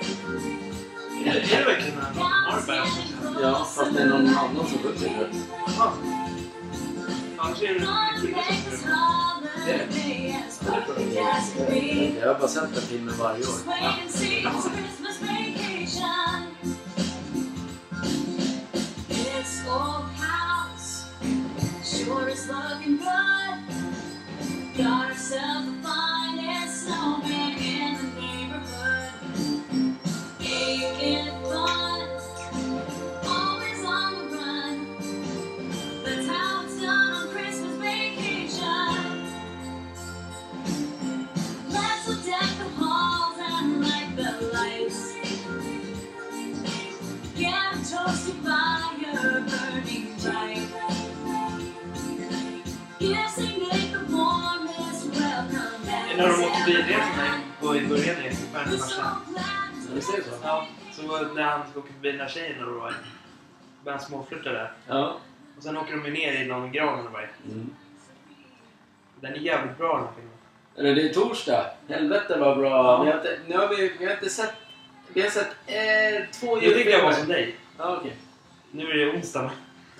Är det är det verkligen en Norberg som kör? Ja, fast det är någon annan som sjunger det. Jaha. Annars är det en kille som kör. Jag har bara sett den filmen varje år. Got herself a finest snowman in the neighborhood. Aching fun, always on the run. That's how it's done on Christmas vacation. Let's look at the halls and light the lights. Get a toasted fire burning bright. Gifts they make the warmest welcome that När de was åkte ever bilresan had. där i början i We're Stjärnorna so glad Ja, Visst är det så? Ja, så var det när han ska åka förbi den där tjejen och då var- började han småflirta där. Ja. Och sen åker de ju ner i någon gran eller vad det är. Mm. Den är jävligt bra den här filmen. Eller det är torsdag. Helvete vad bra. Vi har inte, nu har vi, vi har inte sett... Vi har sett eh, två Jag tyckte jag var som dig. Ja, okej. Nu är det onsdag.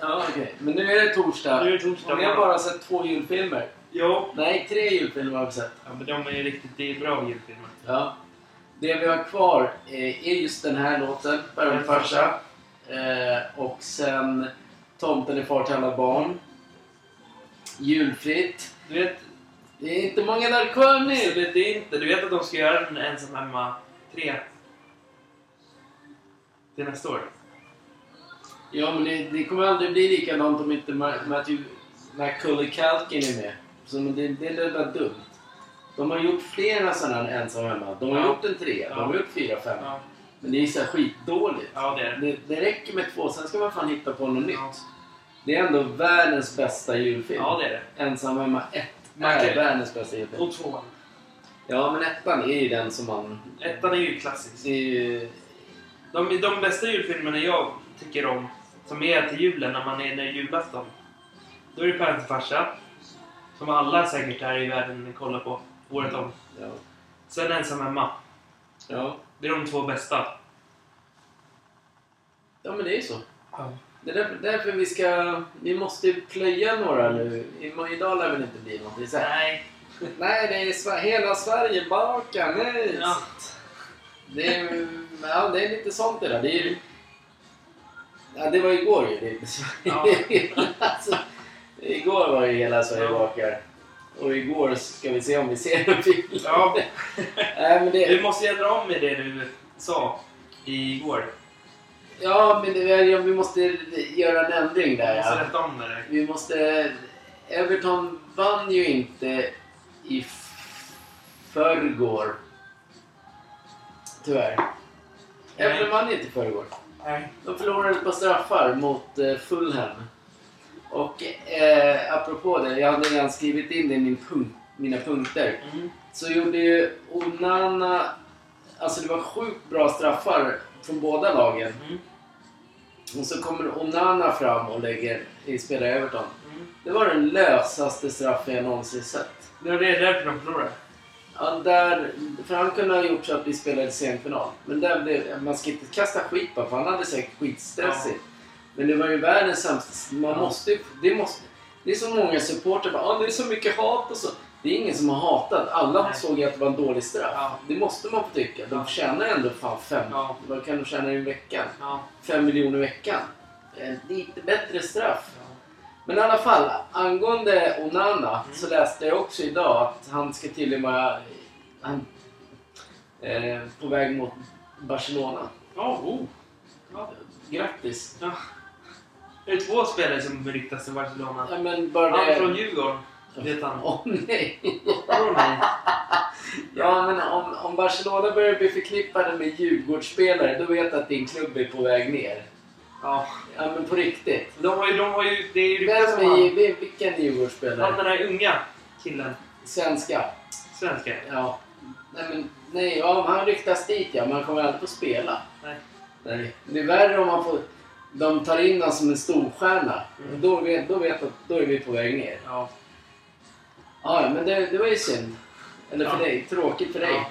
Ja, okej. Men nu är det torsdag. Nu är det torsdag Och vi har morgon. bara sett två julfilmer. Ja. Nej, tre julfilmer har vi sett. ja, men de är ju riktigt det är bra julfilmer. Ja. Det vi har kvar eh, är just den här låten, Baron farsa. Eh, och sen Tomten är far till alla barn. Julfritt. Du vet, Det är inte många där så kvar nu. det, det är inte, du vet att de ska göra en ensam hemma 3 till nästa år? Ja, men det, det kommer aldrig bli likadant om inte Ma- Matthew McCully-Kalkin är med. Så men det, det är bara dumt. De har gjort flera sådana här ensam hemma. De har Ja. gjort en tre, de har Ja. gjort fyra, fem. Ja, Men det är ju så här skitdåligt. ja det är det. Det, det räcker med två, sen ska man fan hitta på något Ja. nytt. Det är ändå världens bästa julfilm. ja, det är det. Ensam hemma 1 Man är kan- världens bästa julfilm. Och tvåan. Ja, men ettan är ju den som man... Ettan är ju klassisk. Det är ju... De, de bästa julfilmerna jag tycker om, som är till julen när man är när det är julafton. Då är det Pärlan till farsa. Som alla säkert här i världen kollar på året om. Ja. Sen Ensam hemma. Ja. Det är de två bästa. ja, men det är ju så. Det är därför, därför vi ska... Vi måste ju plöja några nu. I- Idag lär väl inte bli något. Det är så här, Nej. Nej, det är Sver- hela Sverige bakar. Nej! Ja. Det, är, ja, det är lite sånt det där. Det, är, ju- ja, det var igår ju. Det, Ja. alltså, igår var ju hela Sverige Ja. bakar. Och igår ska vi se om vi ser en film. Ja. Nej, men det, Du måste ändra om med det du sa igår. ja, men det, ja, vi måste göra en ändring där. Du måste Ja. rätta om det där. Vi måste... Everton vann ju inte i f- förrgår. Tyvärr. Nej. Everton vann inte i förrgår. Nej. De förlorade på straffar mot eh, Fulham. Och eh, apropå det, jag hade redan skrivit in det i min punkt, mina punkter. Mm. Så gjorde ju Onana... Alltså det var sjukt bra straffar från båda lagen. Mm. Och så kommer Onana fram och lägger, eh, spelar Everton. Mm. Det var den lösaste straffen jag någonsin sett. Det var det därför de förlorade. Ja, där, för han kunde ha gjort så att vi spelade semifinal. Men där blev, man ska inte kasta skit på för han hade säkert skitstressigt. Men det var ju världens sämsta. Man Ja. måste ju- det måste Det är så många supportrar bara ah, det är så mycket hat och så. Det är ingen som har hatat. Alla Nej. såg ju att det var en dålig straff. Ja. Det måste man få tycka. De Ja. tjänar ändå fan fem. Ja. Vad kan de tjäna i veckan? Ja. Fem miljoner i veckan. Eh, En lite bättre straff. Ja. Men i alla fall, angående Onana så läste jag också idag att han ska tydligen vara han, eh, på väg mot Barcelona. Ja, oh. Ja. Grattis! Ja. Det är två spelare som ryktas till Barcelona. Ja, men bara Han det... från Djurgården. Vet Eh, han. Åh nej! Från mig. Ja, men om, om Barcelona börjar bli förknippade med Djurgårdsspelare då vet jag att din klubb är på väg ner. Ja. Ja, men på riktigt. De har ju, de har ju, det är ju ryktas Vem om han. är, vil- vilken Han Djurgårdsspelare? den där unga killen. Svenska? Svenska. Ja. Nej, men, nej, ja, om han ryktas dit ja, men han kommer aldrig få spela. Nej. Nej. Det är värre om man får, de tar in honom som en storstjärna. Mm. Då, vet, då, vet, att- då är vi på väg ner. Ja. Ja, ja, men det, det var ju synd. Eller för Ja. dig. Tråkigt för dig. Ja.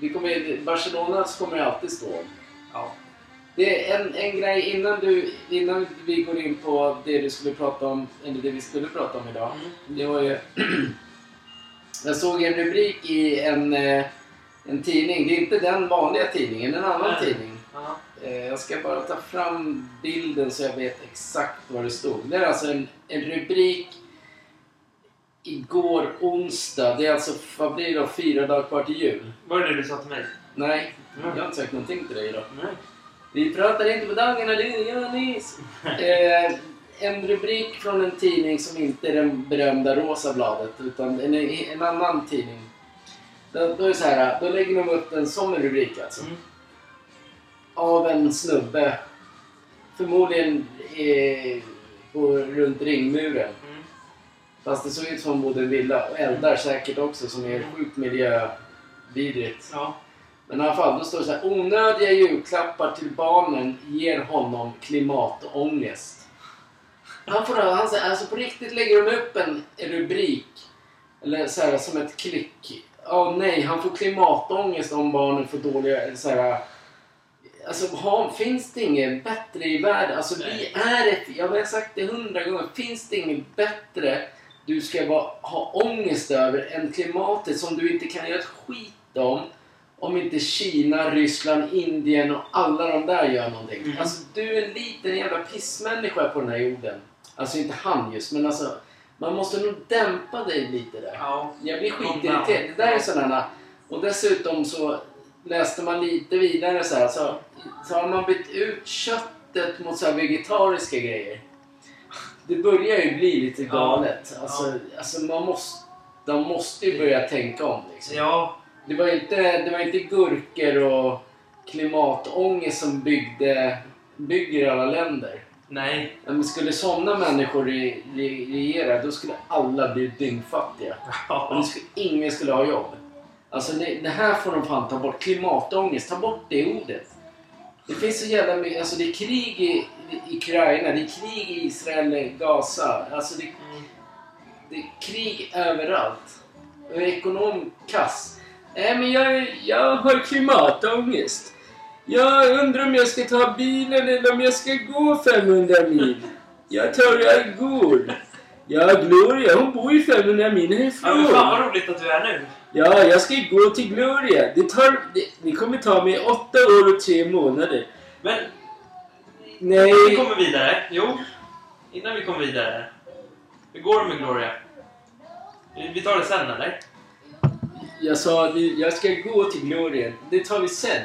Vi kommer, Barcelonas kommer alltid stå. Ja. Det är en, en grej innan, du, innan vi går in på det du skulle prata om, eller det vi skulle prata om idag. Mm. Det var ju... Jag såg en rubrik i en, eh, en tidning. Det är inte den vanliga tidningen, en annan Nej. tidning. Ja. Eh, Jag ska bara ta fram bilden så jag vet exakt vad det stod. Det är alltså en, en rubrik igår onsdag. Det är alltså, vad blir det då, fyra dagar kvar till jul? Var det det du sa till mig? Nej, Mm. jag har inte sagt någonting till dig idag. Nej. Vi pratar inte på dagarna, det gör ni. Eh, en rubrik från en tidning som inte är den berömda Rosa bladet utan en, en annan tidning. Då, då, är det så här, då lägger de upp en sån rubrik alltså. Mm. Av en snubbe. Förmodligen eh, på, runt ringmuren. Mm. Fast det såg ut som hon bodde i en villa och eldar säkert också som är sjukt miljövidrigt. Ja. Men i alla fall, då står det så här. Onödiga julklappar till barnen ger honom klimatångest. Han får, han, säger- alltså på riktigt lägger de upp en rubrik. Eller så här som ett klick. Åh nej, han får klimatångest om barnen får dåliga... eller Så här, alltså ha, finns det inget bättre i världen? Alltså vi är ett... Jag har sagt det hundra gånger. Finns det inget bättre du ska vara, ha ångest över än klimatet som du inte kan göra ett skit om? Om inte Kina, Ryssland, Indien och alla de där gör någonting. Mm. Alltså du är en liten jävla pissmänniska på den här jorden. Alltså inte han just, men alltså man måste nog dämpa dig lite där. Ja. Jag blir Någon skitirriterad. där. Det där är sådana... Och dessutom så läste man lite vidare så här. Så, så har man bytt ut köttet mot så här vegetariska grejer. Det börjar ju bli lite Ja. galet. Alltså, alltså man måste... De måste ju börja tänka om liksom. Ja. Det var ju inte, det var inte gurkor och klimatångest som byggde, bygger alla länder. Nej. Men skulle sådana människor re, re, regera, då skulle alla bli dyngfattiga. Och det Ja. skulle, ingen skulle ha jobb. Alltså det, det här får de fan ta bort. Klimatångest, ta bort det ordet. Det finns så jävla mycket, alltså det är krig i, i Ukraina, det är krig i Israel, Gaza. Alltså det, Mm. det är krig överallt. Och jag är ekonom kass. Nej men jag, jag har klimatångest. Jag undrar om jag ska ta bilen eller om jag ska gå 500 mil. Jag tror jag går. Ja, Gloria hon bor ju 500 mil Ja, men fan härifrån. vad roligt att du är nu. Ja, jag ska ju gå till Gloria. Det, tar, det, det kommer ta mig åtta år och tre månader. Men Nej, vi kommer vidare. Jo. Innan vi kommer vidare. Hur går det med Gloria? Vi vi tar det sen eller? jag sa att vi- jag ska gå till Gloria. Det tar vi sen.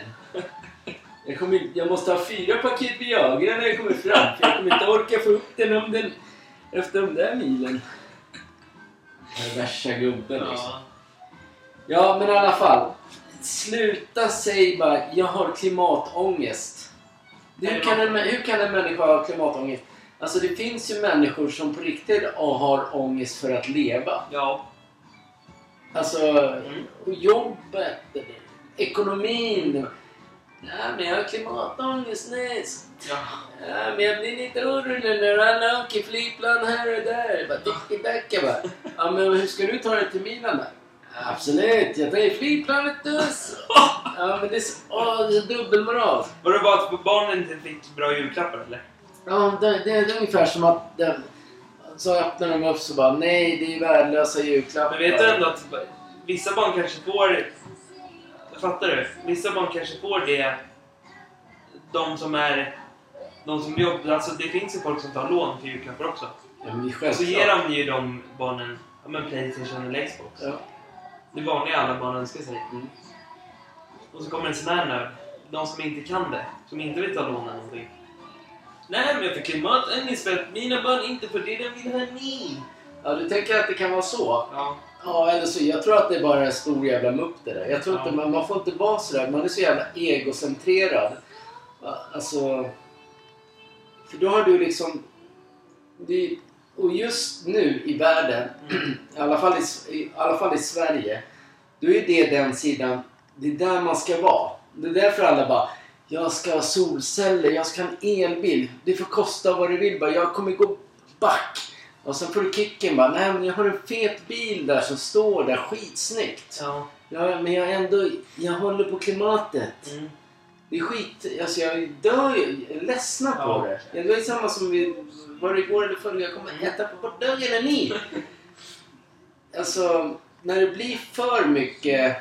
Jag, kommer, jag måste ha fyra paket Viagra när jag kommer fram. För jag kommer inte orka få upp den, om den efter de där milen. Värsta gubben liksom. Ja, men i alla fall. Sluta säg bara jag har klimatångest. Hur kan, en, hur kan en människa ha klimatångest? Alltså det finns ju människor som på riktigt har ångest för att leva. Ja. Alltså Mm. jobbet, ekonomin. Nej men jag har klimatångest nyss. ja. Nej men jag blir lite orolig när alla åker flygplan här och där. Jag Bara dickedacka bara. Ja men hur ska du ta dig till Milan då? Absolut, jag tar ju flygplanet dess. Ja men det är så, åh, det är så dubbelmoral. Var det bara att barnen inte fick bra julklappar eller? Ja, det, det är ungefär som att den, så öppnar de upp så bara nej det är värdelösa julklappar. Men vet du ändå att vissa barn kanske får... Fattar du? Vissa barn kanske får det... De som är... De som jobbar... Alltså det finns ju folk som tar lån för julklappar också. Ja, men det är Och så ger självklart. de ju de barnen ja, men Playstation eller Xbox. Ja. Det vanliga alla barn önskar sig. Mm. Och så kommer en sån här nörd. De som inte kan det. Som inte vill ta lån eller någonting. Nej, men jag fick klimatångest för att mina barn inte får det de vill ha ni. ja, du tänker att det kan vara så? Ja. Ja, eller så. Jag tror att det är bara är en stor jävla mupp det där. Jag tror Ja. inte, man, man får inte vara sådär. Man är så jävla egocentrerad. Va, Alltså... För då har du liksom... Det, och just nu i världen, Mm. i alla, fall i, i alla fall i Sverige, då är det den sidan, det är där man ska vara. Det är därför alla bara jag ska ha solceller, jag ska ha en elbil. Det får kosta vad det vill bara. Jag kommer gå back. Och sen får du kicken bara, nej men jag har en fet bil där som står där skitsnyggt. Ja. Ja, men jag ändå... Jag håller på klimatet. Mm. Det är skit... Alltså jag dör ju. Jag är ledsna Ja. på det. Det var ju samma som vi... Var det igår eller förra? Jag kommer äta på bort dörren än ni. Alltså, när det blir för mycket...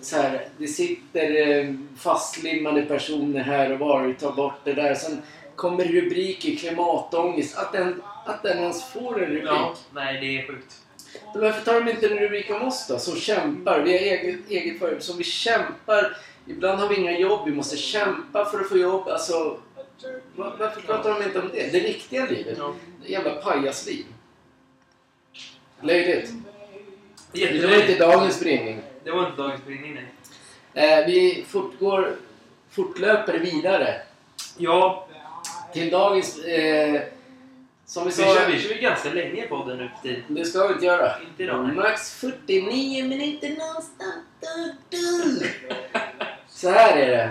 Så här, det sitter eh, fastlimmade personer här och var och tar bort det där. Sen kommer rubriker, klimatångest. Att den, att den ens får en rubrik. Ja, nej, det är sjukt. Men Varför tar de inte en rubrik om oss då? Som kämpar. Vi har eget, eget företag. Som vi kämpar. Ibland har vi inga jobb. Vi måste kämpa för att få jobb. Alltså, va- varför pratar de inte om det? Det riktiga livet. Ja. Det jävla pajasliv. Löjligt. Det var inte Jättelöjligt. dagens springning. Det var inte dagens brytning, nej. Eh, vi fortgår, fortlöper vidare Ja, till dagens... Eh, som vi vi kör, sa, vi kör ju ganska länge i podden nu för tiden. det ska vi inte göra. Inte idag. nej. Max 49 minuter någonstans. Du, du. Så här är det.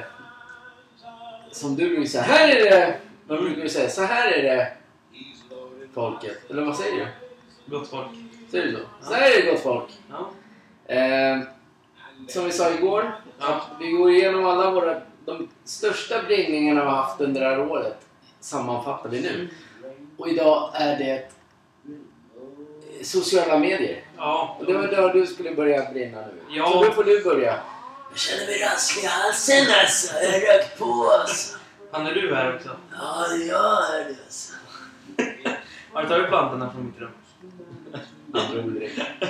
Som du brukar säga. Här är det! Vad brukar du säga? Så här är det. Folket. Eller vad säger du? Gott folk. Säger du så? Så här är det gott folk. Ja. Eh, som vi sa igår. Ja. Vi går igenom alla våra... De största bringningarna vi har haft under det här året. Sammanfattar vi Mm. nu. Och idag är det sociala medier. Ja. Och det var då du skulle börja brinna nu. Ja. Så då får du börja. Jag känner mig rasslig i halsen alltså. Jag har rökt på alltså. Han är du här också. Ja, det gör det alltså. Har du tagit plantorna från mitt rum? Det drog direkt.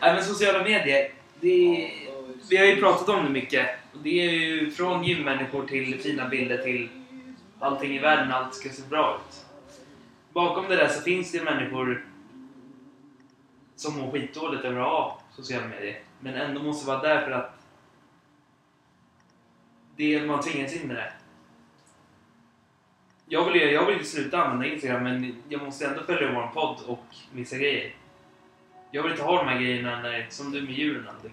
Nej, men sociala medier. Det, vi har ju pratat om det mycket. Och Det är ju från gymmänniskor till fina bilder till allting i världen. Allt ska se bra ut. Bakom det där så finns det människor som mår skitdåligt över att ha sociala medier. Men ändå måste vara där för att det man tvingas in i det. Jag vill, ju- jag vill ju sluta använda Instagram men jag måste ändå följa vår podd och vissa grejer. Jag vill inte ha de här grejerna när, som du med djuren och allting.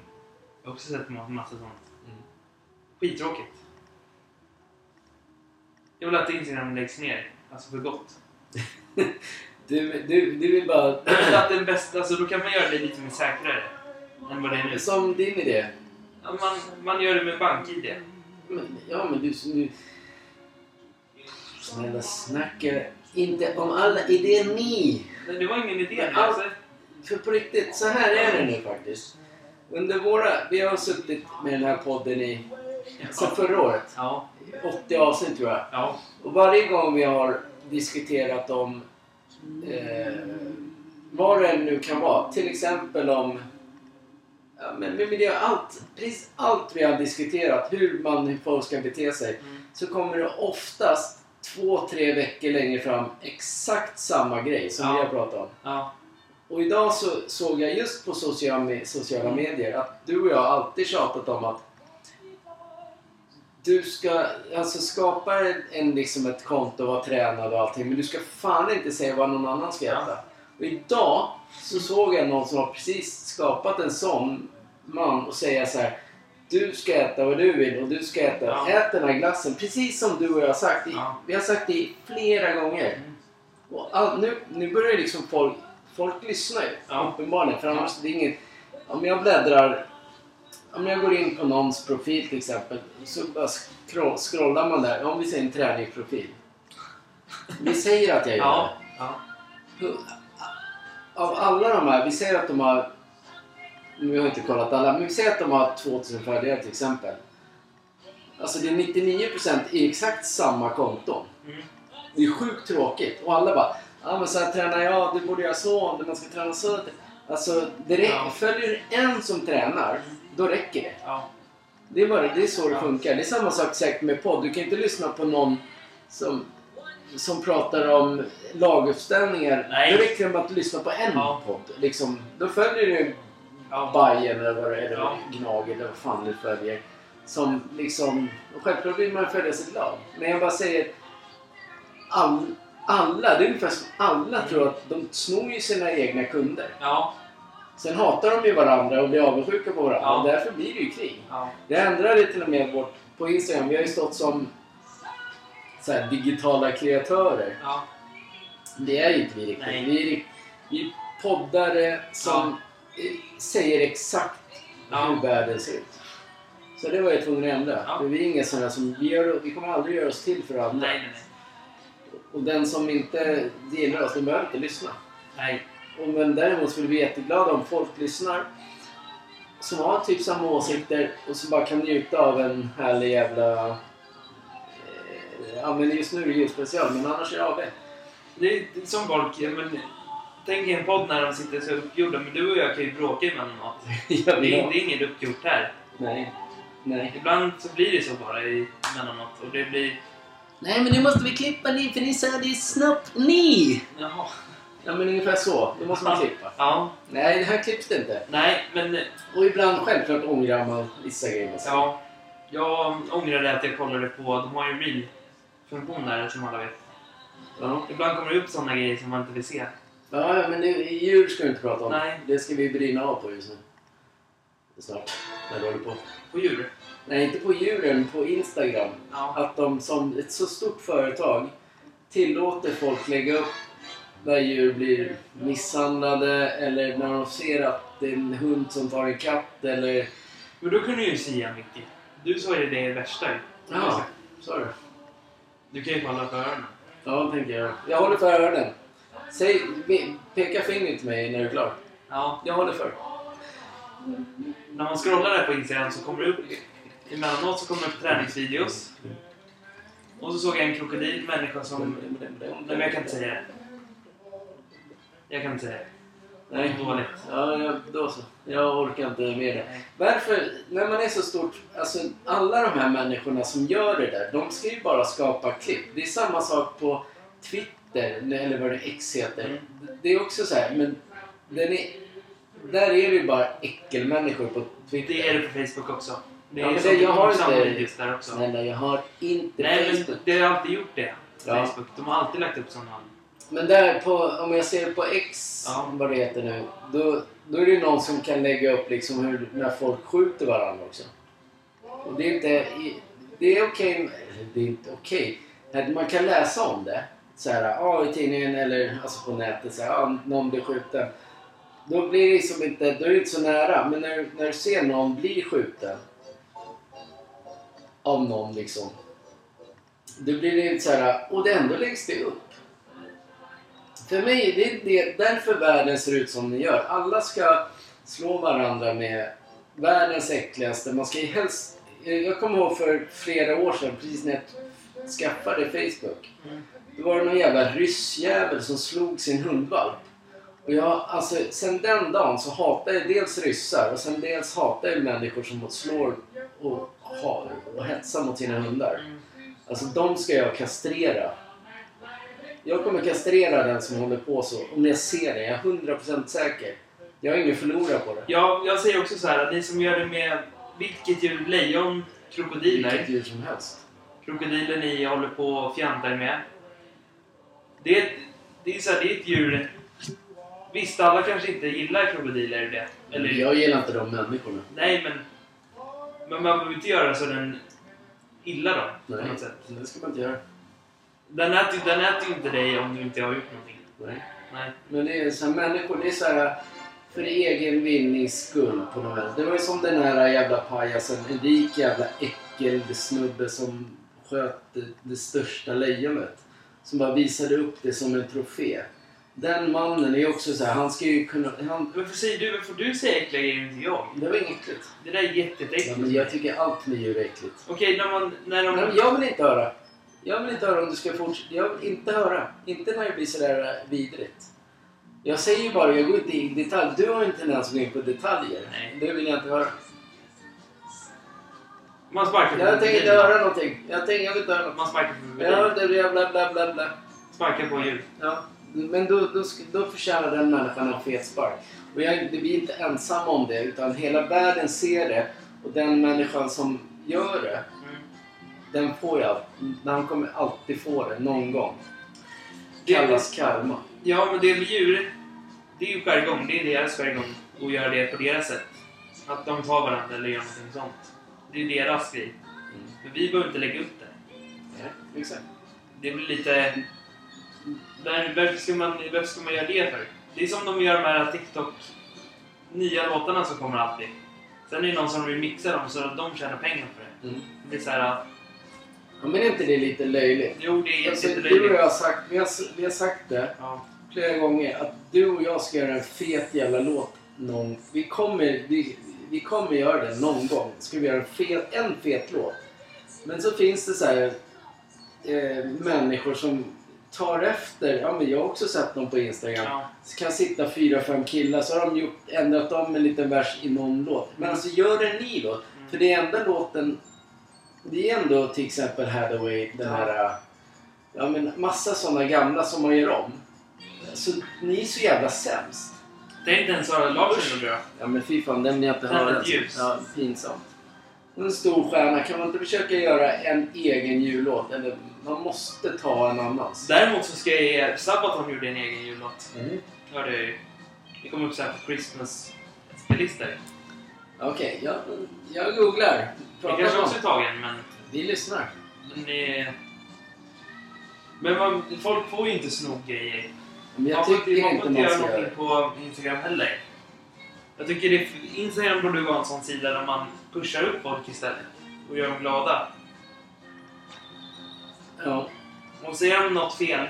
Jag har också sett ma- massa sånt. Mm. Skittråkigt. Jag vill att Instagram läggs ner. Alltså för gott. Mm. Du, du, du vill bara... Jag vill att den bästa, alltså då kan man göra det lite mer säkrare. Än vad det är nu. Som din idé. Ja, Man, man gör det med bank-id. Men, ja, men du... du snälla snacka inte om alla idéer ni. Men Det var ingen idé. Men Alltså, För på riktigt, så här är det nu faktiskt. Under våra... Vi har suttit med den här podden i... Sen förra året. Alltså, ja. 80 avsnitt tror jag. Ja. Och varje gång vi har diskuterat om eh, vad det än nu kan vara, till exempel om ja, men med miljö, allt, precis allt vi har diskuterat, hur man hur folk ska bete sig, Mm. så kommer det oftast två, tre veckor längre fram exakt samma grej som Ja. vi har pratat om. Ja. Och idag så såg jag just på sociala, me- Mm. sociala medier att du och jag har alltid tjatat om att du ska alltså skapa en, en, liksom ett konto och vara tränad och allting men du ska fan inte säga vad någon annan ska Ja. äta. Och idag så såg jag någon som har precis skapat en sån man och säga så här du ska äta vad du vill och du ska äta, Ja. ät den här glassen precis som du och jag har sagt. I, Ja. Vi har sagt det flera gånger. Mm. Och all, nu, nu börjar ju liksom folk, folk lyssna ju Ja. uppenbarligen. För annars, det är inget, om jag bläddrar, om jag går in på någons profil till exempel så bara scroll, scrollar man där. Om vi säger en träningsprofil. Vi säger att jag gör Ja. Ja. det. Av alla de här, vi säger att de har, nu har jag inte kollat alla, men vi säger att de har 2000 följare till exempel. Alltså det är 99% i exakt samma konton. Mm. Det är sjukt tråkigt. Och alla bara ah, men så här tränar jag, du borde göra så, du- man ska träna så. Alltså, det räcker. Ja. Följer du en som tränar, då räcker det. Ja. Det är, bara, det är så det Ja. funkar. Det är samma sak säkert med podd. Du kan inte lyssna på någon som, som pratar om laguppställningar. Nej. Då räcker det med att lyssna på en Ja. podd. Liksom, då följer du Ja. Bajen eller vad det är, eller Ja. Gnag eller vad fan du följer. Som liksom... och Självklart vill man följa sitt lag. Men jag bara säger... All, alla, det är ungefär som alla Mm. tror att de snor ju sina egna kunder. Ja. Sen hatar de ju varandra och blir avundsjuka på varandra. Ja. Och därför blir det ju krig. Ja. Det ändrade till och med vårt... På Instagram, vi har ju stått som så här, digitala kreatörer. Ja. Det är ju inte vi riktigt. Nej. Vi, är, vi är poddare som eh, säger exakt Ja. hur världen ser ut. Så det var jag tvungen att ändra. Ja. För vi är inga sådana som... Vi, gör, vi kommer aldrig göra oss till för andra. Nej, nej, nej. Och den som inte gillar oss, den behöver inte lyssna. Nej. Och men däremot skulle vi bli jätteglada om folk lyssnar som har typ samma åsikter och som bara kan njuta av en härlig jävla... eh, Ja men just nu är det julspecial men annars är det AB. Det är det är som folk... ja, Men, tänk en podd när de sitter så uppgjorda. Men du och jag kan ju bråka emellanåt. Ja, Det är, det är inget uppgjort här. Nej. Nej. Ibland så blir det så bara i- emellanåt. Och det blir... Nej men nu måste vi klippa ni för ni sa det är snabbt ni! Jaha. Ja men ungefär så. Det måste man klippa. Ja. Nej det här klipps det inte. Nej, men... Och ibland självklart ångrar man vissa grejer. Ja. Jag ångrade att jag kollade på... De har ju reel-funktion där som alla vet. Ja. Ibland kommer det upp såna grejer som man inte vill se. Ja, ja, men det, djur ska vi inte prata om. Nej. Det ska vi brinna av på just nu. Snart. När du håller på. På djur. Nej, inte på djuren, på Instagram. Ja. Att de som ett så stort företag tillåter folk lägga upp när djur blir misshandlade eller när de ser att det är en hund som tar en katt eller... Men då kunde ju sia mycket. Du sa ju det värsta ju. Ja, sa du? Du kan ju kolla på öronen. Ja, tänker jag. Jag håller för öronen. Säg, be- peka finger till mig när du är klar. Ja. Jag håller för. När man scrollar där på Instagram så kommer det upp... Emellanåt så kommer det upp träningsvideos. Och så såg jag en krokodilmänniska som... Nej, men jag kan inte säga det. Jag kan inte säga det. Nej. Dåligt. Ja, ja, då så. Jag orkar inte med det. Nej. Varför, när man är så stort, alltså alla de här människorna som gör det där, de ska ju bara skapa klipp. Det är samma sak på Twitter, eller vad det X heter. Mm. Det är också så här, men den är, där är det ju bara äckelmänniskor på Twitter. Det är det på Facebook också. Det Ja, är men så det- jag har mycket samma inte- videos där också. Nej, Snälla, jag har inte men Facebook. det har alltid gjort det. Ja. Facebook. De har alltid lagt upp sådana. Men där på, om jag ser på X, Ja. vad det heter nu, då, då är det någon som kan lägga upp liksom hur, när folk skjuter varandra också. Och det är inte, i- det är okej, eller det är inte okej. Att Man kan läsa om det, så här, ja, i tidningen eller alltså på nätet, så här, ja, någon blir skjuten. Då blir det liksom inte, då är det inte så nära. Men när, när du ser någon bli skjuten av någon liksom. Då blir det inte så här, och det ändå läggs det upp. För mig, det är det, därför världen ser ut som den gör. Alla ska slå varandra med världens äckligaste. Man ska ju helst... eh, Jag kommer ihåg för flera år sedan, precis när jag skaffade Facebook. Mm. Då var det någon jävla ryssjävel som slog sin hundvalp. Och jag, alltså, sen den dagen så hatar jag dels ryssar och sen dels hatar jag människor som slår och, har, och hetsar mot sina hundar. Mm. Alltså de ska jag kastrera. Jag kommer kastrera den som håller på så. Om jag ser det, jag är 100% säker. Jag har inget att förlora på det. Ja, jag säger också så här att ni som gör det med vilket djur, lejon, krokodiler. Vilket djur som helst. Krokodiler ni håller på och fjantar med. Det är, det är så här, det är ett djur. Visst, alla kanske inte gillar krokodiler och det. Eller, Jag gillar inte de människorna. Nej, men, men man behöver inte göra så den illa dem. På Nej, något sätt. det ska man inte göra. Den äter, ju- den äter ju inte dig om du inte har gjort någonting. Nej. Nej. Men det är så här, människor, det är så här för egen vinnings skull på något vis. Det var ju som den här jävla pajasen, en rik jävla äckelsnubbe som sköt det, det största lejonet. Som bara visade upp det som en trofé. Den mannen är ju också så här, han ska ju kunna... Han, Varför säger du, varför du säger äckliga grejer och inte jag? det var inget äckligt. Det där är Ja, men jag jätteäckligt. tycker allt med djur är äckligt. Okej, när man... När de, Nej, men jag vill inte höra. Jag vill inte höra om du ska fortsätta. Jag vill inte höra. Inte när det blir sådär vidrigt. Jag säger ju bara, jag går inte in i detalj. Du har ju en tendens att gå in på detaljer. Nej. Det vill jag inte höra. Man sparkar på Jag tänker inte krokodiler. höra någonting. Jag tänker jag vill inte höra något. Man sparkar på Jag krokodiler. hörde bla bla bla bla bla. Sparkar på djur. Ja. Men då, då, sk- då förtjänar den människan en fet spark. Och jag, vi är inte ensamma om det utan hela världen ser det och den människan som gör det Mm. Den får jag. Den kommer alltid få det någon gång. Det- Kallas karma. Ja, men det med djur, det är ju jargong. Det är deras jargong. Och göra det på deras sätt. Att de tar varandra eller gör någonting sånt. Det är deras grej. Men vi behöver inte lägga upp det. Ja, exakt. Det blir lite... Där, varför, ska man, varför ska man göra det för? Det är som de gör med de här TikTok... Nya låtarna som kommer alltid. Sen är det någon som remixar dem så de tjänar pengar på det. Mm. Det är så här, Ja, men är inte det lite löjligt? jo det är Alltså, du och jättelöjligt. jag har sagt, vi har, s- vi har sagt det Ja. flera gånger att du och jag ska göra en fet jävla låt någon Vi kommer, vi, vi kommer göra det någon gång. Ska vi göra en fet, en fet låt. Men så finns det så här eh, människor som tar efter. Ja, men jag har också sett dem på Instagram. Ja. Så kan sitta fyra, fem killar så har de gjort, ändrat om en liten vers i någon låt. Men alltså gör en ny låt. Mm. För det enda låten, det är ändå till exempel Hathaway, den Ja. här... äh, Ja men massa sådana gamla som man gör om. Så ni är så jävla sämst. Det är inte ens Sara Larsson tror jag. Ja men fy fan, den vill jag inte Tänd ett höra. alltså. ljus. Ja, pinsamt. En stor stjärna, kan man inte försöka göra en egen jullåt? Eller man måste ta en annans. Däremot så ska jag ge... Sabaton gjorde en egen jullåt. Mm. Hörde jag ju. Det kom upp så här på Christmas-spellistor. Okej, jag, jag googlar. Det Pratar kanske om. också är tagen men... Vi lyssnar. Men, det... men man, folk får ju inte sno grejer. Men jag man får inte, tycker man får inte inte man göra ska göra det. någonting på Instagram heller. Jag tycker det, Instagram borde vara en sån sida där man pushar upp folk istället. Och gör dem glada. Ja. Och ser de något fel,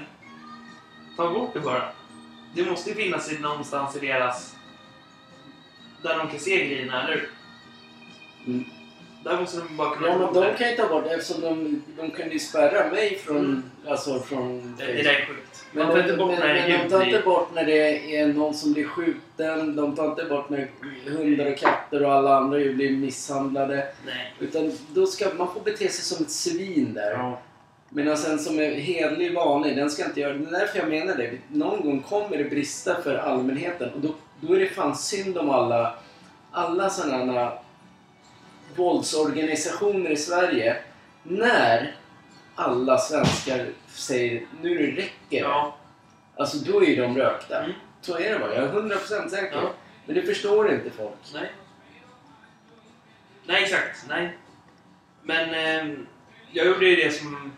ta bort det bara. Det måste ju finnas i- någonstans i deras... Där de kan se grejerna, eller hur? Mm. Där måste de bara kunna Ja, ta bort men de det. kan ju ta bort det eftersom de, de kunde ju spärra mig från... Mm. Alltså från... Det, det där är sjukt. Men, de tar de, inte bort men, när det men är de tar ljud inte i. bort när det är någon som blir skjuten. De tar inte bort när hundar och katter och alla andra ju blir misshandlade. Nej. Utan då ska man få bete sig som ett svin där. Ja. Medan den alltså, som är hedlig vanlig, den ska inte göra det. Det är därför jag menar det. Någon gång kommer det brista för allmänheten och då, då är det fan synd om alla, alla sådana våldsorganisationer i Sverige. När alla svenskar säger nu det räcker ja. Alltså då är ju de rökta. Mm. Så är det bara. Jag är 100% säker. Ja. Men det förstår inte folk. Nej. Nej, exakt. Nej. Men ehm, jag gjorde ju det som...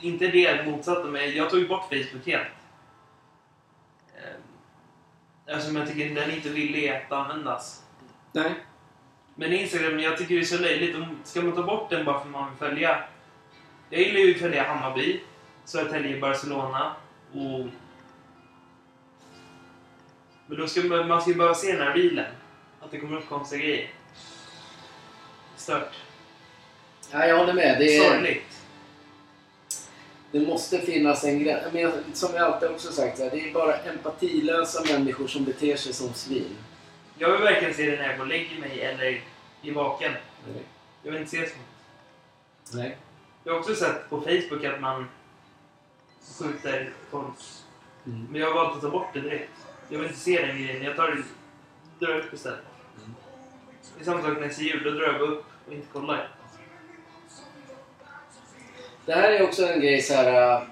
Inte det motsatte mig. Jag tog bort Facebook helt. Ehm, Eftersom jag tycker den inte ville att användas. Nej. Men Instagram, jag tycker det är så löjligt. Om- Ska man ta bort den bara för att man vill följa? Jag gillar ju att följa Hammarby, Södertälje, Barcelona och... Men då ska man, man ska ju behöva se den här reelen. Att det kommer upp konstiga grejer. Stört. Ja, jag håller med. Det är, Sorgligt. Det måste finnas en gräns. Men jag- som jag alltid också sagt, så här, det är bara empatilösa människor som beter sig som svin. Jag vill verkligen se den när jag går och lägger mig eller i vaken. Nej. Jag vill inte se sånt. Nej. Jag har också sett på Facebook att man skjuter folk. Mm. Men jag har valt att ta bort det direkt. Jag vill inte se den grejen. Jag tar det, drar upp istället. Mm. Det är samma sak när jag ser jul. Då drar jag bara upp och inte kollar. Det här är också en grej så här. äh,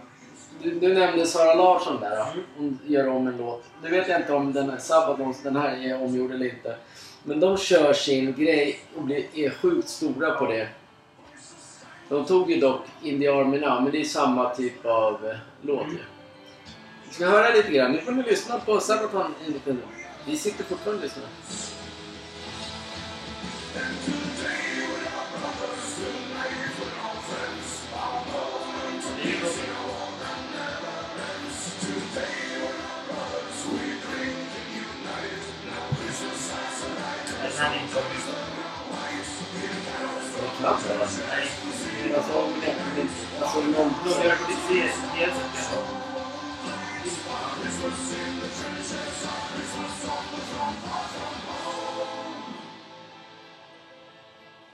Du, du nämnde Sara Larsson där. Mm. Mm. Hon gör om en låt. Nu vet jag inte om den här Sabaton, den här är omgjord eller inte. Men de kör sin grej och blir, är sjukt stora på det. De tog ju dock In the Army Now, men det är samma typ av eh, låt ju. Mm. Vi ska höra lite grann. Nu får ni lyssna på Sabaton en liten Vi sitter fortfarande och lyssnar. Det är ju bra. Den här är inte så Nej. Alltså, om det- alltså, någon- Då har jag på ditt CS.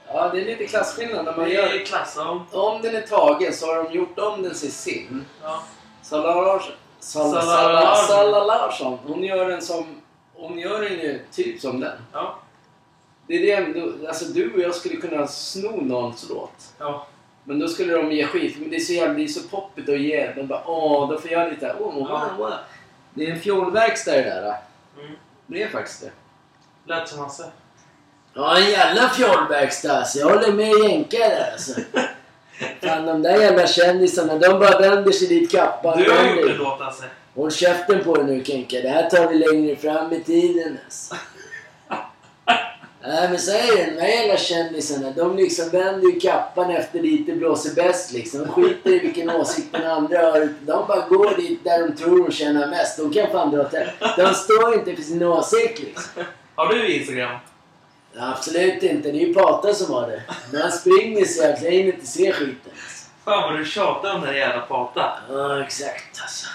Ja, det är lite klasskillnad när man Det är ju gör... klass av... Om den är tagen så har de gjort om den till sin. Ja. Salla Larsson... Salla, Salla Salla, Larsson. Salla Larsson. Hon gör den som... Hon gör den ju typ som den. Ja. Det är det ändå... Alltså du och jag skulle kunna sno någons låt. Ja. Men då skulle de ge skit. Men det är så jävla... Det är så poppigt att ge. De bara åh, då får jag lite... Åh, oh, Ja. wow, wow. Det är en fjolverkstad det där. Mm. Det är faktiskt det. Lät som Hasse. Ja, en jävla fjollverkstad alltså. Jag håller med jänkare där alltså. Fan, de där jävla kändisarna, de bara vänder sig dit kappan Du har gjort en vänder. låt Hasse. Håll käften på dig nu Kenke, det här tar vi längre fram i tiden alltså. Nej men så är det, de här jävla kändisarna de liksom vänder ju kappan efter dit det blåser bäst liksom. De skiter i vilken åsikt den andra har. De bara går dit där de tror de tjänar mest. De kan fan dra åt helvete. De står inte för sin åsikt liksom. Har du Instagram? Absolut inte, det är ju Pata som har det. Men han springer så jävligt, jag hinner inte se skiten. alltså. Fan vad du tjatar om den här jävla Pata. Ja exakt alltså.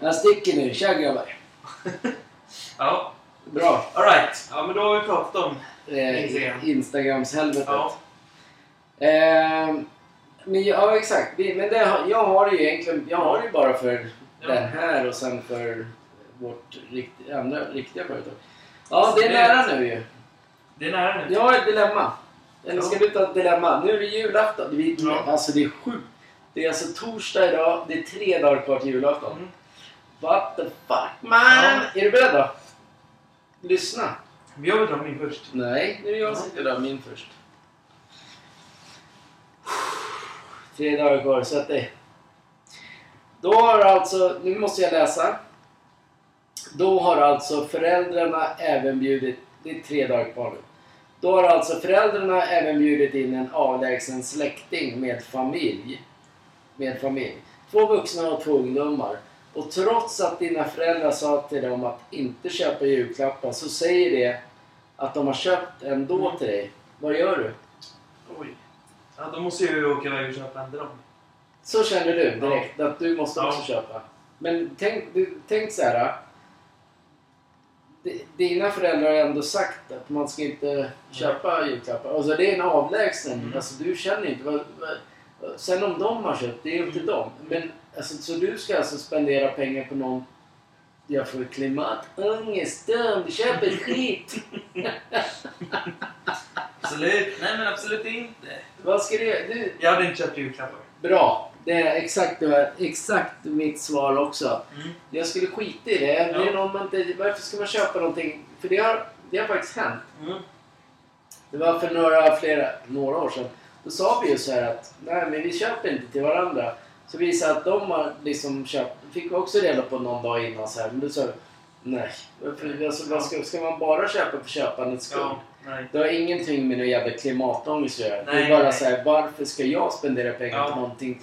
Jag sticker nu, tja grabbar. Ja, Bra. alright. Ja, men då har vi pratat om... Instagram. Eh, Instagrams-helvetet. Ja. Ehm, men ja, exakt. Vi- Men det, har- jag har det ju egentligen jag har det ju bara för Ja. den här och sen för vårt rikt, andra riktiga företag. Ja, Så det är Alltså, det- nära nu ju. Det är nära nu. Jag har ett dilemma. Eller ska Ja. vi ta ett dilemma? Nu är det julafton. Vi, Ja. Alltså det är sjukt. Det är alltså torsdag idag. Det är tre dagar kvar till julafton. Mm. What the fuck man! Ja. Är du beredd då? Lyssna. Men jag vill dra min först. Nej, det är jag som ska dra min först. Tre dagar kvar, sätt dig. Då har alltså, nu måste jag läsa. Då har alltså föräldrarna även bjudit, det är tre dagar kvar nu. Då har alltså föräldrarna även bjudit in en avlägsen släkting med familj. Med familj. Två vuxna och två ungdomar. Och trots att dina föräldrar sa till dem att inte köpa julklappar så säger det att de har köpt ändå till dig. Vad gör du? Oj. Ja, då måste jag ju åka iväg och köpa en till dem. Så känner du direkt att du måste också köpa. Men tänk, du, tänk så här. D- Dina föräldrar har ändå sagt att man ska inte köpa julklappar. Alltså det är en avlägsen. Mm. Alltså du känner inte. Vad, vad, sen om de har köpt, det är upp till dem. Men alltså, så du ska alltså spendera pengar på någon jag får klimatångest. Du köper skit. Absolut. Nej, men absolut inte. Vad ska du göra? Du, Jag hade inte köpt julklappar. Bra! Det är exakt, det var exakt mitt svar också. Mm. Jag skulle skita i det. det är Ja. någon man inte, varför ska man köpa någonting? För det har, det har faktiskt hänt. Mm. Det var för några, flera, några år sedan. Då sa vi ju så här att nej men vi köper inte till varandra. Så visade att de har liksom köpt, fick vi också reda på någon dag innan så här. Men då sa vi nej. Varför, alltså, vad ska, ska man bara köpa för köpandets skull? Ja, nej. Det har ingenting med någon jävla klimatångest att göra. det är Nej, bara nej. så här, varför ska jag spendera pengar Ja. på någonting?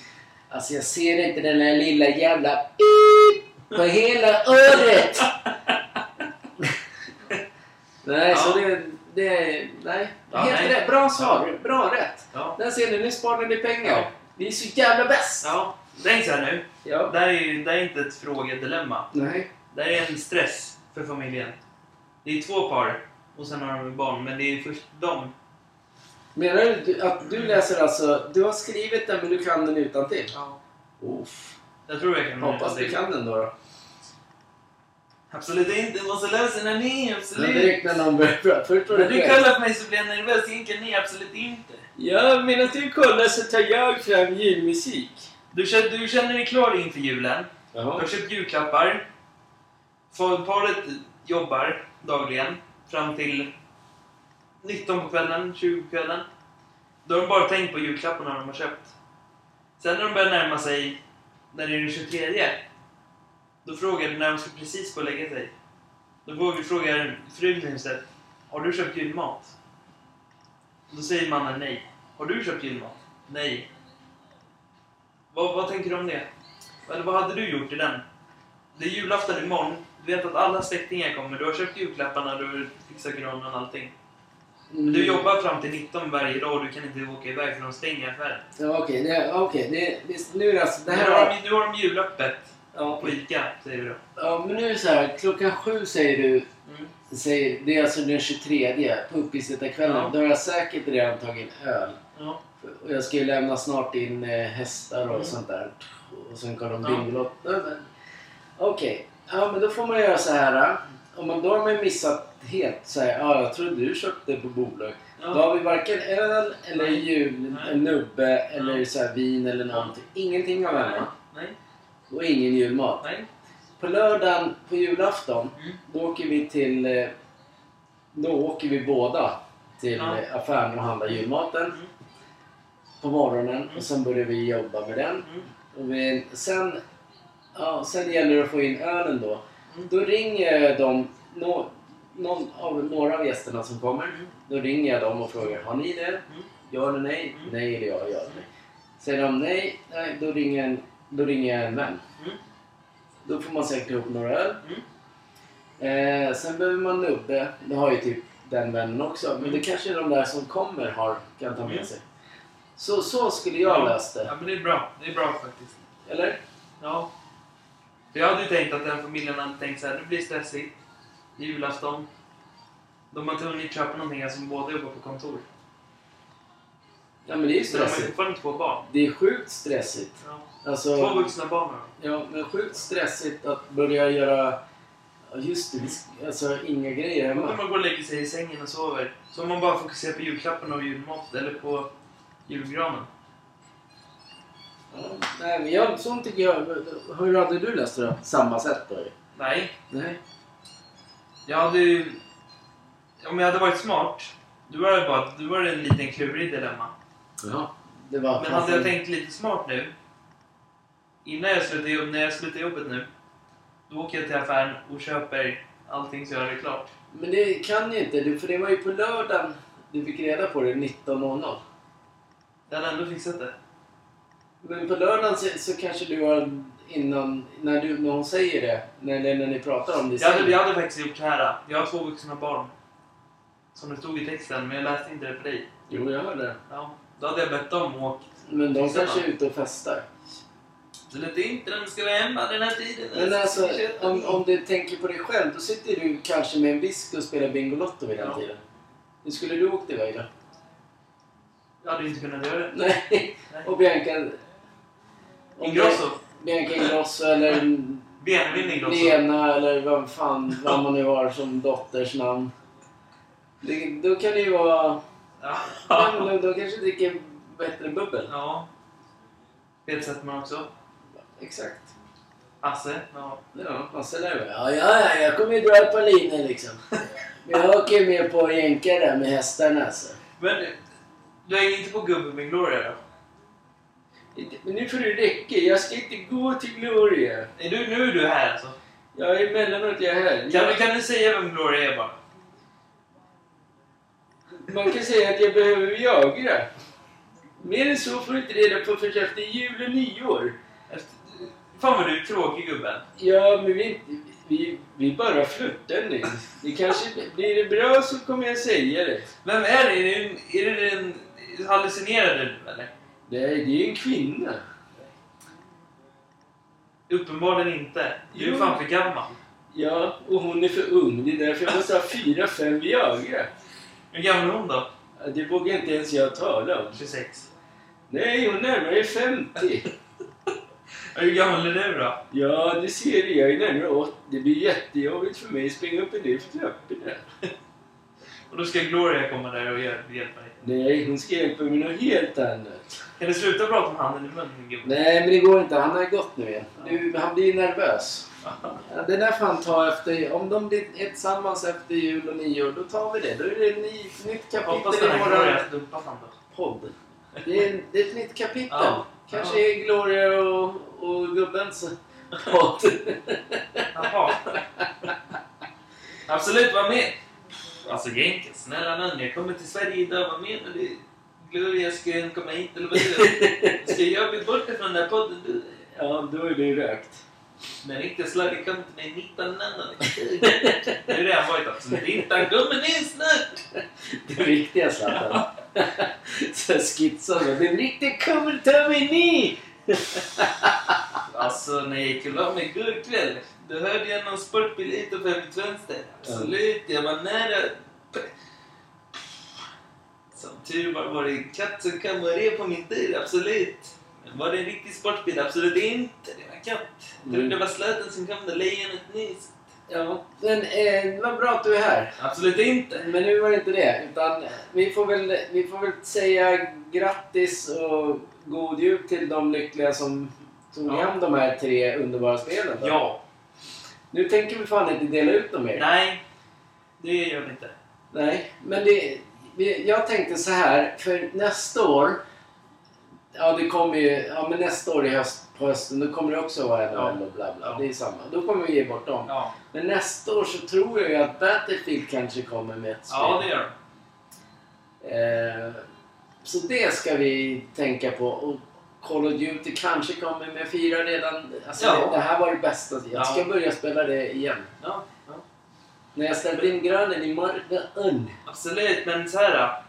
Alltså jag ser inte den där lilla jävla pip på hela öret! nej, Ja. så det... det nej. Ja, Helt nej. rätt. Bra svar. Bra rätt. Ja. Där ser ni, nu sparar ni pengar. Ja. Vi är så jävla bäst! ja. Tänk så här nu. Ja. Det här är ju det här är inte ett frågedilemma. Nej. Det här är en stress för familjen. Det är två par och sen har de barn. Men det är först de. Menar du du- att du läser alltså... Du har skrivit den men du kan den utantill? Ja. Uff. Jag tror jag kan Hoppas du kan den då. då. Absolut inte. Jag måste lösa den här. Ja, Absolut. direkt när någon börjar prata. Först var det När du skämt. kallar på mig så blir jag nervös. Egentligen nej, absolut inte. Ja, medan du kollar så tar jag fram julmusik. Du känner, du känner dig klar inför julen. Du har Jaha. köpt julklappar. Fa- Paret jobbar dagligen fram till 19 på kvällen, 20 på kvällen. Då har de bara tänkt på julklapparna de har köpt. Sen när de börjar närma sig, när det är den 23, då frågar du när de ska precis gå och lägga sig. Då går vi och frågar frun i huset, har du köpt julmat? Då säger mannen nej. Har du köpt julmat? Nej. Vad, vad tänker du om det? Eller vad hade du gjort i den? Det är julafton imorgon. Du vet att alla släktingar kommer. Du har köpt julklapparna, du har fixat granen och allting. Men Mm. du jobbar fram till 19 varje dag och du kan inte åka iväg för de stänger affären. Ja, okej. det- okej, det- visst, nu är det alltså... Det här nu, har var, de, nu har de julöppet ja, på ICA, säger du då. ja, men nu är det så här. Klockan sju säger du... Mm. Säger, det är alltså den 23 på uppesittarkvällen. Ja. Då har jag säkert redan tagit en öl. Ja. Och jag ska ju lämna snart in eh, hästar och Mm. sånt där. Och sen kollar de Ja. Bingolotto. Nej, men- Okej, ja men då får man göra så här. eh. Om man, då har man ju missat helt så här. Ja, jag trodde du köpte på bolag. Då Ja. har vi varken öl eller Nej. jul, Nej. en nubbe eller Ja. så här vin eller någonting. Ingenting av hemma. Nej, Och ingen julmat. nej. På lördagen på julafton, Mm. då åker vi till... eh, Då åker vi båda till Ja. eh, affären och handlar julmaten. Mm. På morgonen och sen börjar vi jobba med den. Mm. Och vi, sen, ja, sen gäller det att få in ölen då. Mm. Då ringer de... Nå, någon av några av gästerna som kommer. Då ringer jag dem och frågar har ni det? Ja eller nej? Mm. Nej eller ja, ja eller nej. Säger de nej, nej då, ringer jag en, då ringer jag en vän. Mm. Då får man säkert ihop några öl. Mm. Eh, sen behöver man nubbe. Det har ju typ den vännen också. Men det kanske är de där som kommer har, kan ta Mm. med sig. Så, så skulle jag Ja. löst det. Ja, men det är bra. Det är bra faktiskt. Eller? Ja. För jag hade ju tänkt att den familjen hade tänkt så här, det blir stressigt. Julafton. De har inte hunnit köpa någonting alltså, som båda jobbar på kontor. Ja men det är ju Så de har ju stressigt. fortfarande två barn. Det är sjukt stressigt. Ja. Alltså, Två vuxna barn har de. Ja, men sjukt stressigt att börja göra... ja, Just det, vi sk- alltså inga grejer Då kan hemma. man gå och lägga sig i sängen och sover. Så om man bara fokuserar på julklapparna och julmat eller på julgranen. Ja, nej, men jag, sånt tycker jag... Hur hade du löst det då? Samma sätt då ju. Nej, Nej. jag hade ju... Om jag hade varit smart, då var det bara då var det en liten klurig dilemma. Ja. Det var... Men hade jag tänkt lite smart nu, innan jag slutar jobb, när jag slutar jobbet nu, då åker jag till affären och köper allting så jag har det klart. Men det kan ju inte du, för det var ju på lördagen du fick reda på det 19.00. Jag hade ändå fixat det. Men på lördagen så, så kanske du har innan... När, du, när hon säger det, när, eller när ni pratar om det. Jag hade, jag hade faktiskt gjort så här. Jag har två vuxna barn. Som det stod i texten, men jag läste inte det för dig. Jo, jag hörde det. Ja, då hade jag bett dem och åkt. Men de Fixar kanske är man. ute och festar. Så lät det inte den ska vara hemma den här tiden. Men alltså, om, om du tänker på dig själv, då sitter du kanske med en visk och spelar Bingolotto vid den Ja. tiden. Hur skulle du åkt iväg då? Jag hade inte kunnat göra det. Nej, Nej. och Bianca... om Ingrosso. det- Bianca Ingrosso eller Benjamin Ingrosso. Lena eller vad fan vad man nu har som dotters namn. Det, då kan det ju vara... Nej, men Ja. de, de kanske dricker bättre bubbel. ja. Peter Settman också. Exakt. Hasse. Ja. Ja, Hasse lär väl. Ja, ja, ja, jag kommer ju dra ett par linor liksom. Men jag åker ju med på jänkar där med hästarna alltså. Men du hänger inte på gubben med Gloria då? Inte- Men nu får du räcka. Jag ska inte gå till Gloria. Är du, nu är du här alltså. Jag är emellanåt jag är här. Kan, du- Jag, kan du säga vem Gloria är bara? man kan säga att jag behöver Viagra. Mer än så får du inte reda på förrän efter jul och nyår. Efter, fan vad du är tråkig gubben. Ja, men vi, vi, vi bara flörtar nu. Det kanske, blir det bra så kommer jag säga det. Vem är det? Är det, en- är det en hallucinerade nu eller? Nej, det är en kvinna. Uppenbarligen inte. Du är Jo. fan för gammal. Ja, och hon är för ung. Det är därför jag måste ha fyra, fem Viagra. Hur gammal är hon då? Ja, Det vågar inte ens jag tala om. 26. Nej, hon närmar sig 50. Ja, Hur gammal är du då? Ja, det ser du. Jag är närmare 80. Det blir jättejobbigt för mig att springa upp i de trapporna. Och då ska Gloria komma där och hjäl- hjälpa dig. Nej, hon ska hjälpa mig med något helt annat. Kan du sluta prata om handen i munnen gubben? Nej, men det går inte. Han har gått nu igen. Nu, han blir nervös. Ja, det där får han ta efter... Om de blir tillsammans efter jul och nyår, då tar vi det. Då är det ett ny, nytt Hoppas kapitel den i här våran Gloria dumpas han då. podd. Det är, det är ett nytt kapitel. Ja. Kanske är Gloria och, och gubbens podd. Jaha. Absolut, var med! Alltså Jenke, snälla nån, jag kommer till Sverige idag, var med när du... Gloria, ska jag komma hit eller vad du... Ska jag bli borta från den här podden? Du... ja, då är det rökt. När riktiga slaget kom till mig 1997. Nu är det han varit absolut inte. Han kommer ner snart! Det riktiga Zlatan. Så skitsade jag. Den riktiga kommer ta mig ni! Alltså, när jag gick och la mig igår kväll, då hörde jag någon sportbil hit och fem mitt fönster. Absolut, jag var nära. Som tur var var det en katt som kammade på min bil, absolut. Men var det en riktig sportbil? Absolut inte. Det var en katt. Jag trodde det var Zlatan som kom där lejonet nyst. Ja, men eh, vad bra att du är här. Absolut inte. Men nu var det inte det. Utan vi får väl, vi får väl säga grattis och god jul till de lyckliga som tog Ja. hem de här tre underbara spelen. då. Ja. Nu tänker vi fan inte dela ut dem mer. Nej, det gör vi inte. Nej, men det, vi- jag tänkte så här, för nästa år... Ja, det kommer ju... Ja, men nästa år i höst, på hösten då kommer det också vara NHL och bla bla. Ja. Det är samma. Då kommer vi ge bort dem. Ja, Men nästa år så tror jag ju att Battlefield kanske kommer med ett spel. ja det gör de. Eh, så det ska vi tänka på. Och Call of Duty kanske kommer med fyra redan. Alltså Ja. det, det här var det bästa. Jag ska Ja. börja spela det igen. Ja, ja. När jag ställde in grönen i marknaden. Absolut, men så här.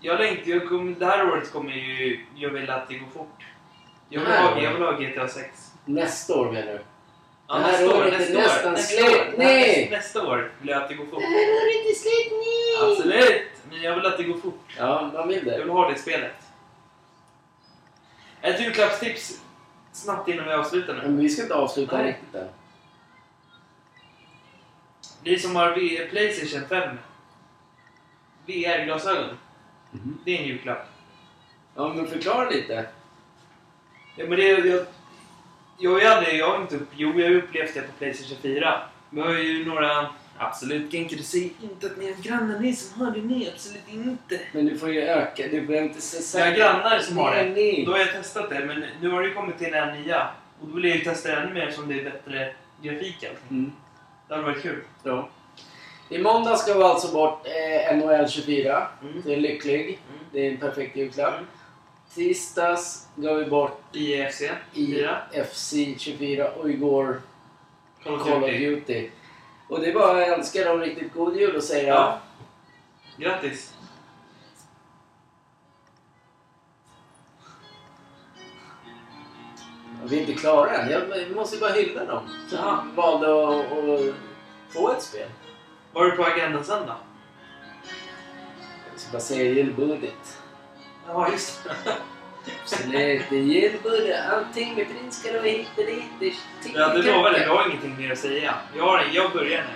Jag längtar, jag kommer, det här året kommer ju, jag vill att det går fort. Jag vill, Det här ha, jag året? vill ha GTA 6. Nästa år menar du? Ja, Det här nästa år, året är nästa nästan år, nästa slut. år, Nej! nästa, nästa år vill jag att det går fort. är inte slut nu! Absolut, men jag vill att det går fort. Ja, man vill Jag det. vill ha det spelet. Ett julklappstips snabbt innan vi avslutar nu. Men vi ska inte avsluta Nej. riktigt än. Ni som har V- Playstation 5 VR-glasögon, Mhm. det är en julklapp. Ja, men förklara lite. Ja, men det, jag, jag, har ju aldrig, jag har inte upp, jo, jag har ju upplevt det på Playstation 4. Men jag har ju några... Absolut Genker, du säger inte att ni har grannar, ni som har det, nej absolut inte. Men du får ju öka. Du behöver inte se Jag har grannar som har det. Nej, Då nej. har jag testat det, men nu har det ju kommit till en nya. Och då vill jag ju testa ännu mer som det är bättre grafik och allting. Mm. Det hade varit kul. Ja. I måndag ska vi alltså bort eh, NHL 24. Mm. Du är lycklig. Mm. Det är en perfekt julklapp. Mm. Tisdags gav vi bort IFC fyra. IFC 24 och igår Call of Call of Duty. Duty. Och det är bara att önska dem riktigt god jul och säga Ja. Grattis! Vi är inte klara än. Jag vi måste ju bara hylla dem. Som Ja. valde att, att få ett spel. Vad har du på agendan sen då? Jag ska bara säga julbudget. Ja, just det. Absolut, det är julbudget. Allting med prins ska du hit och dit. Det är Men Jag lovar dig, tickelkacka. jag har ingenting mer att säga. Jag, har, en- jag börjar nu.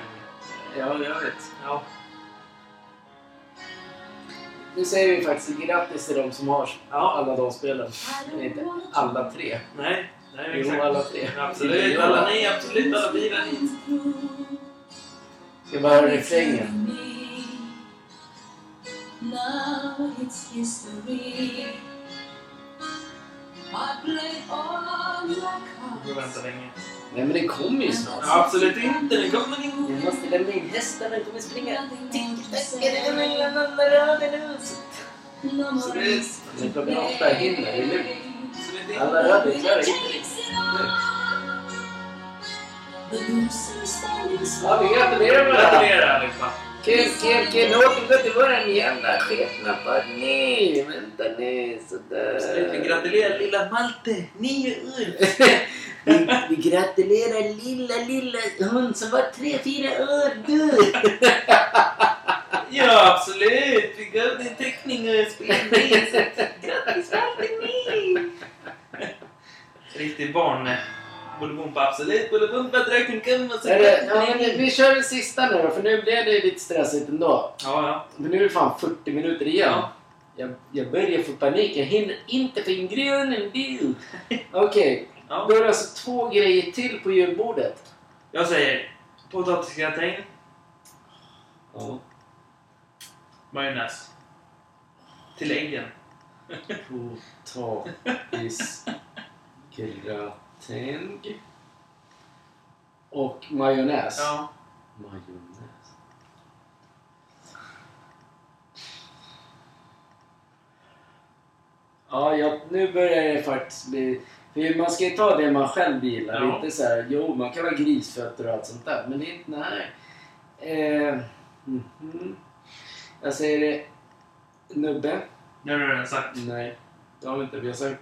Ja, jag vet. Ja. Nu säger vi faktiskt grattis till de som har ja. alla de spelen. Eller inte alla tre. Nej. Nej, Jo, exakt. alla tre. Absolut. Alla ni, absolut. Alla bilar. Ska bara höra refrängen. Now it's history. I played all my Jag får vänta länge. Nej, men den kommer ju snart. Ja, absolut inte. Det kommer inte. Jag måste lämna in hästarna. De kommer springa. Men klockan åtta hinner. Det är lugnt. Absolut inte. Alla röda klarar inte det. Ja, vi gratulerar varandra. Gratulerar allihopa. Kul, kul, kul. Nu återgår till våran jävla skepnad. Nej, vänta nu. Absolut. Vi Sådär. gratulerar lilla Malte. Nio år. Vi, vi gratulerar lilla, lilla hund som var tre, fyra år. Du! Ja, absolut. Vi gav dig en teckning och ett spelning. så Grattis Malte, ni! Riktigt barn. Bolibompa, absolut. Bolibompa, Drakenkumma, så Är det, ja, men grattis. vi kör den sista nu då, för nu blev det lite stressigt ändå. Ja, ja. Men nu är det fan 40 minuter igen. Ja. Jag, jag börjar få panik. Jag hinner inte få in grönen bil. Okej, Ja. då är det alltså två grejer till på julbordet. Jag säger potatisgratäng, Ja. majonnäs. Till äggen. Potatisgratäng. Och majonnäs. Ja. Majonnäs. Ja, jag, nu börjar det faktiskt bli... För man ska ju ta det man själv gillar. Ja. Inte så här, jo, man kan vara grisfötter och allt sånt där. Men det är inte... Nej. Eh, mhm. Jag säger det... Nubbe? Nu har du redan sagt. Nej, det har vi inte. Vi har sagt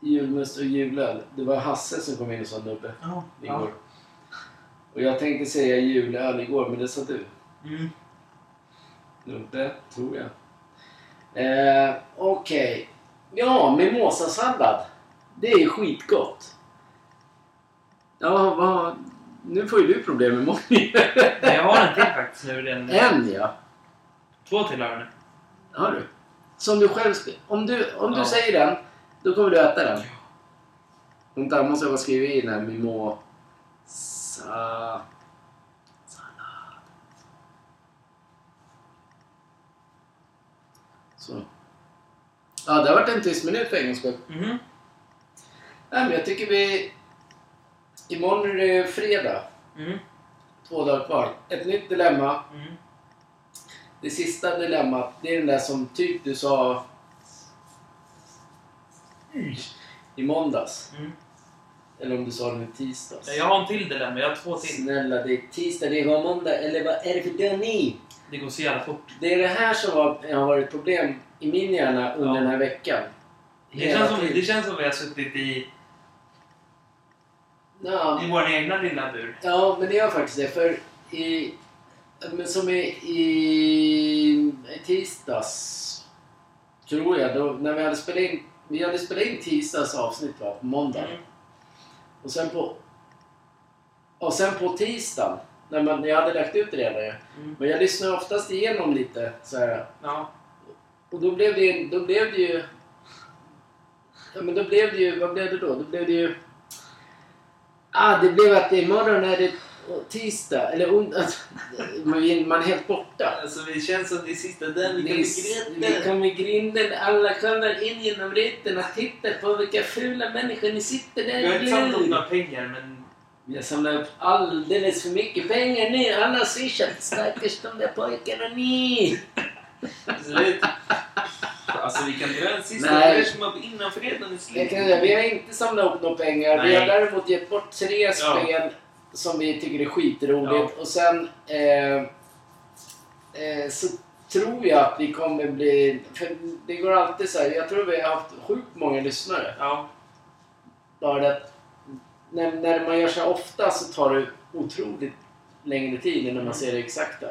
julmust och julöl. Det var Hasse som kom in och sa nubbe Ja. igår. Och jag tänkte säga julöl igår, men det sa du. Mm. Nubbe, tror jag. Eh, Okej. Ja, mimosasallad. Det är ju skitgott. Ja, vad... Nu får ju du problem med morgonen. Nej, jag har en till faktiskt nu redan. En ja. Två till har jag nu. Har du? Som du själv skri- Om du, om du Ja. säger den, då kommer du äta den. Vänta, jag måste jag bara skriva in här. Mimo... Sa... Sallad. Mm, Så. Ja, det har varit en tyst minut för en gångs skull. Mhm. Nej, men jag tycker vi... Imorgon är det fredag. Mm. Två dagar kvar. Ett nytt dilemma. Mm. Det sista dilemmat, det är den där som typ du sa i måndags. Mm. Eller om du sa det i tisdags. Jag har en till dilemma. Jag har två till. Snälla, det är tisdag, det var måndag. Eller vad är det för dag ni? Det går så jävla fort. Det är det här som har, har varit problem i min hjärna under Ja. den här veckan. Det Hela känns, som, tiden. det känns som vi har suttit i, Ja, i vår egna lilla bur. Ja, men det gör faktiskt det. För i, men som i, i tisdags, tror jag, då, när vi hade spelat in, vi hade spelat in tisdags avsnitt va, på måndag. Mm. Och sen på, och sen på tisdagen, när, man, när jag hade lagt ut det redan ju. Mm. Men jag lyssnar oftast igenom lite så här. Ja. Och då blev det, då blev det ju... Ja, men då blev det ju... Vad blev det då? Då blev det ju... Ah, det blev att imorgon är det tisdag. Eller onsdag. Man man är helt borta. Alltså, det känns som det är sista den vi kan Nyss, Vi begrepa. kom i grinden, alla kommer in genom rutan och tittar på vilka fula människor ni sitter där Vi har i inte samlat ihop blod. några pengar, men... Jag samlar upp alldeles för mycket pengar nu. Alla har swishat. Stackars de där pojkarna ni. Absolut. Alltså, vi kan dra en sista Nej. Nej. som var innan fredagen är Jag slut. kan säga, vi har inte samlat ihop några pengar. Vi Nej. har däremot gett bort tre spel som vi tycker är skitroligt. Och sen eh, eh, så tror jag att vi kommer bli... För det går alltid så här. Jag tror vi har haft sjukt många lyssnare. Ja. Bara det att när, när man gör så här ofta så tar det otroligt längre tid innan man ser det exakta.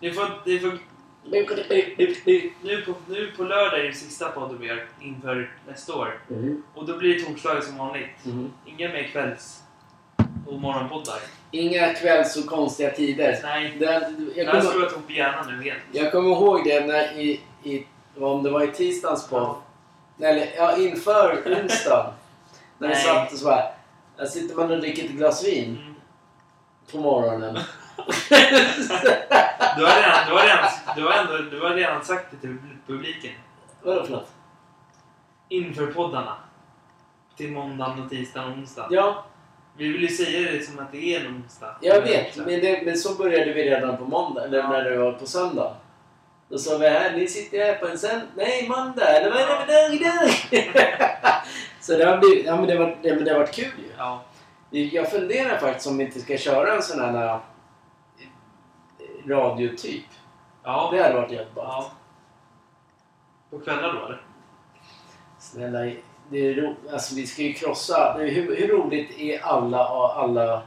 Ni får, ni får, Mm. nu, på, nu på lördag är det sista podden vi gör inför nästa år. Mhm. Och då blir det torsdagar som vanligt. Mhm. Inga mer kvälls och morgonpoddar. Inga kvälls och konstiga tider. Nej. Den, Jag jag har kommer, skruvat ihop hjärnan nu helt. Jag kommer ihåg det när i, i, om det var i tisdags på, eller ja, inför onsdagen. när vi Nej. satt och så här. Där sitter man och dricker ett glas vin Mm. på morgonen. Du har redan, du har redan, du har ändå, du har redan sagt det till publiken. Vadå för något? Inför poddarna. Till måndagen och tisdagen och onsdagen. Ja, Vi vill ju säga det som att det är en onsdag. jag vet. Men, det, men så började vi redan på måndag, eller när det var på söndag. Då sa vi här, ni sitter här på en sen... Nej, måndag! Eller vad är det för dag idag? så det har blivit... Ja, men det har det, men det har varit kul ju. Ja. Jag funderar faktiskt om vi inte ska köra en sån här eh, radiotyp. Ja. Det hade varit jävligt bra. ja. På kvällar då eller? Snälla, det är ro... alltså, vi ska ju krossa. det är- Hur, hur roligt är alla, alla,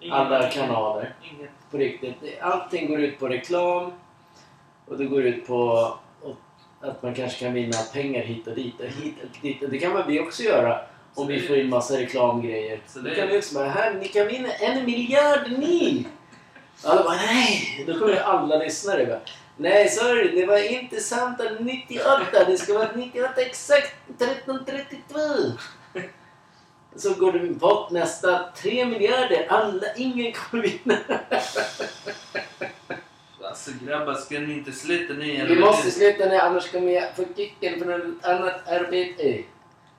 Ingen- alla kanaler? Inget. På riktigt. Det- Allting går ut på reklam och det går ut på och att man kanske kan vinna pengar hit och dit. Och hit och dit. Och det kan väl vi också göra om vi får in massa reklamgrejer. Så Då det- kan vi också bara, här, ni kan vinna en miljard ni! Alla bara, nej! Då kommer alla lyssnare bara, nej sorry, det var inte samtal 98, det ska vara 98 exakt 13.32! Så går det bort nästa tre miljarder, alla, ingen kommer vinna. Alltså grabbar, ska ni inte slita ner Vi måste sluta nu, annars kommer jag få kicken från ett annat arbete.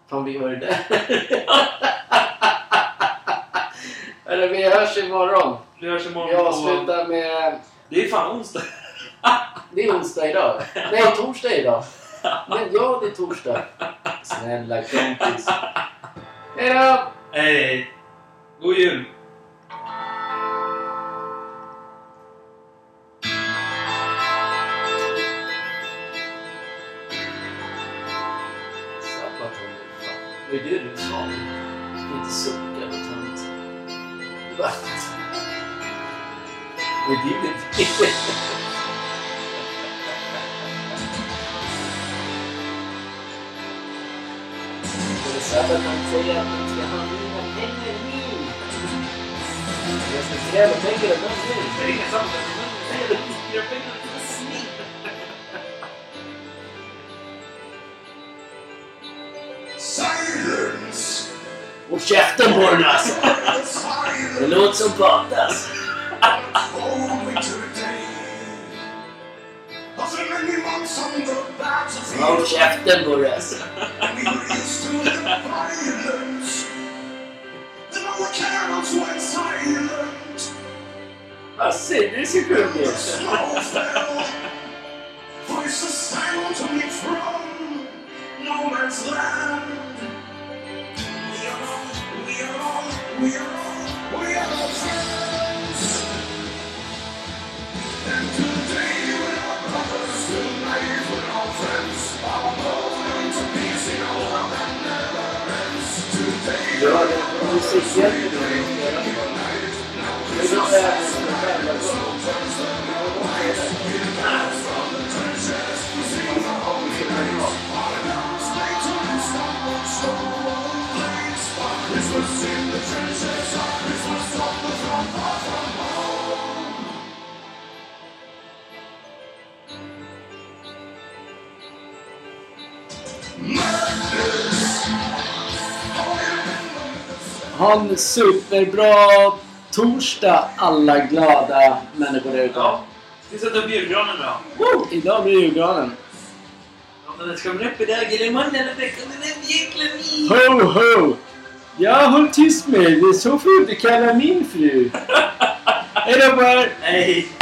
Fan, vi var ju där. Eller vi hörs imorgon. Vi hörs imorgon Jag på... avslutar med... Det är fan onsdag. Det är onsdag idag. Nej, torsdag idag. Men ja, det är torsdag. Snälla kompis. Hej då! Hej! God jul! Sabaton, fan. Vad är det du sa? Du ska inte sucka, du tönt. Va? Vad är det du Men Sabaton säger att de ska ha mina pengar nu. Jag ska kräva pengar av dem nu. Det är inga samtal. Jag pengar till snitt. Silence! Och käften på den alltså! Det Silence! låter som pratas. Only to the day of the many months on the Håll battlefield käften på den alltså. we used to the violence. Ja, Sigrid ska sjunga också. Snowfell. Voices sound to me from no man's land. We are all, we are all, we are all, we are all friends. And today we're all brothers, tonight we're all friends. Our bone to peace in all our that never ends. Today Ja, we're all det- musikhjälpen är det. Det är så här, det är själva Ha en superbra torsdag alla glada människor där ute. Ja. Ska sätta upp julgranen då? Woo! Idag blir det julgranen. Ja, men den ska väl upp idag eller imorgon eller veckan eller jäkla ni! Ho ho! Ja, håll tyst med dig. Så får du inte kalla min fru. Hej då på er! Nej!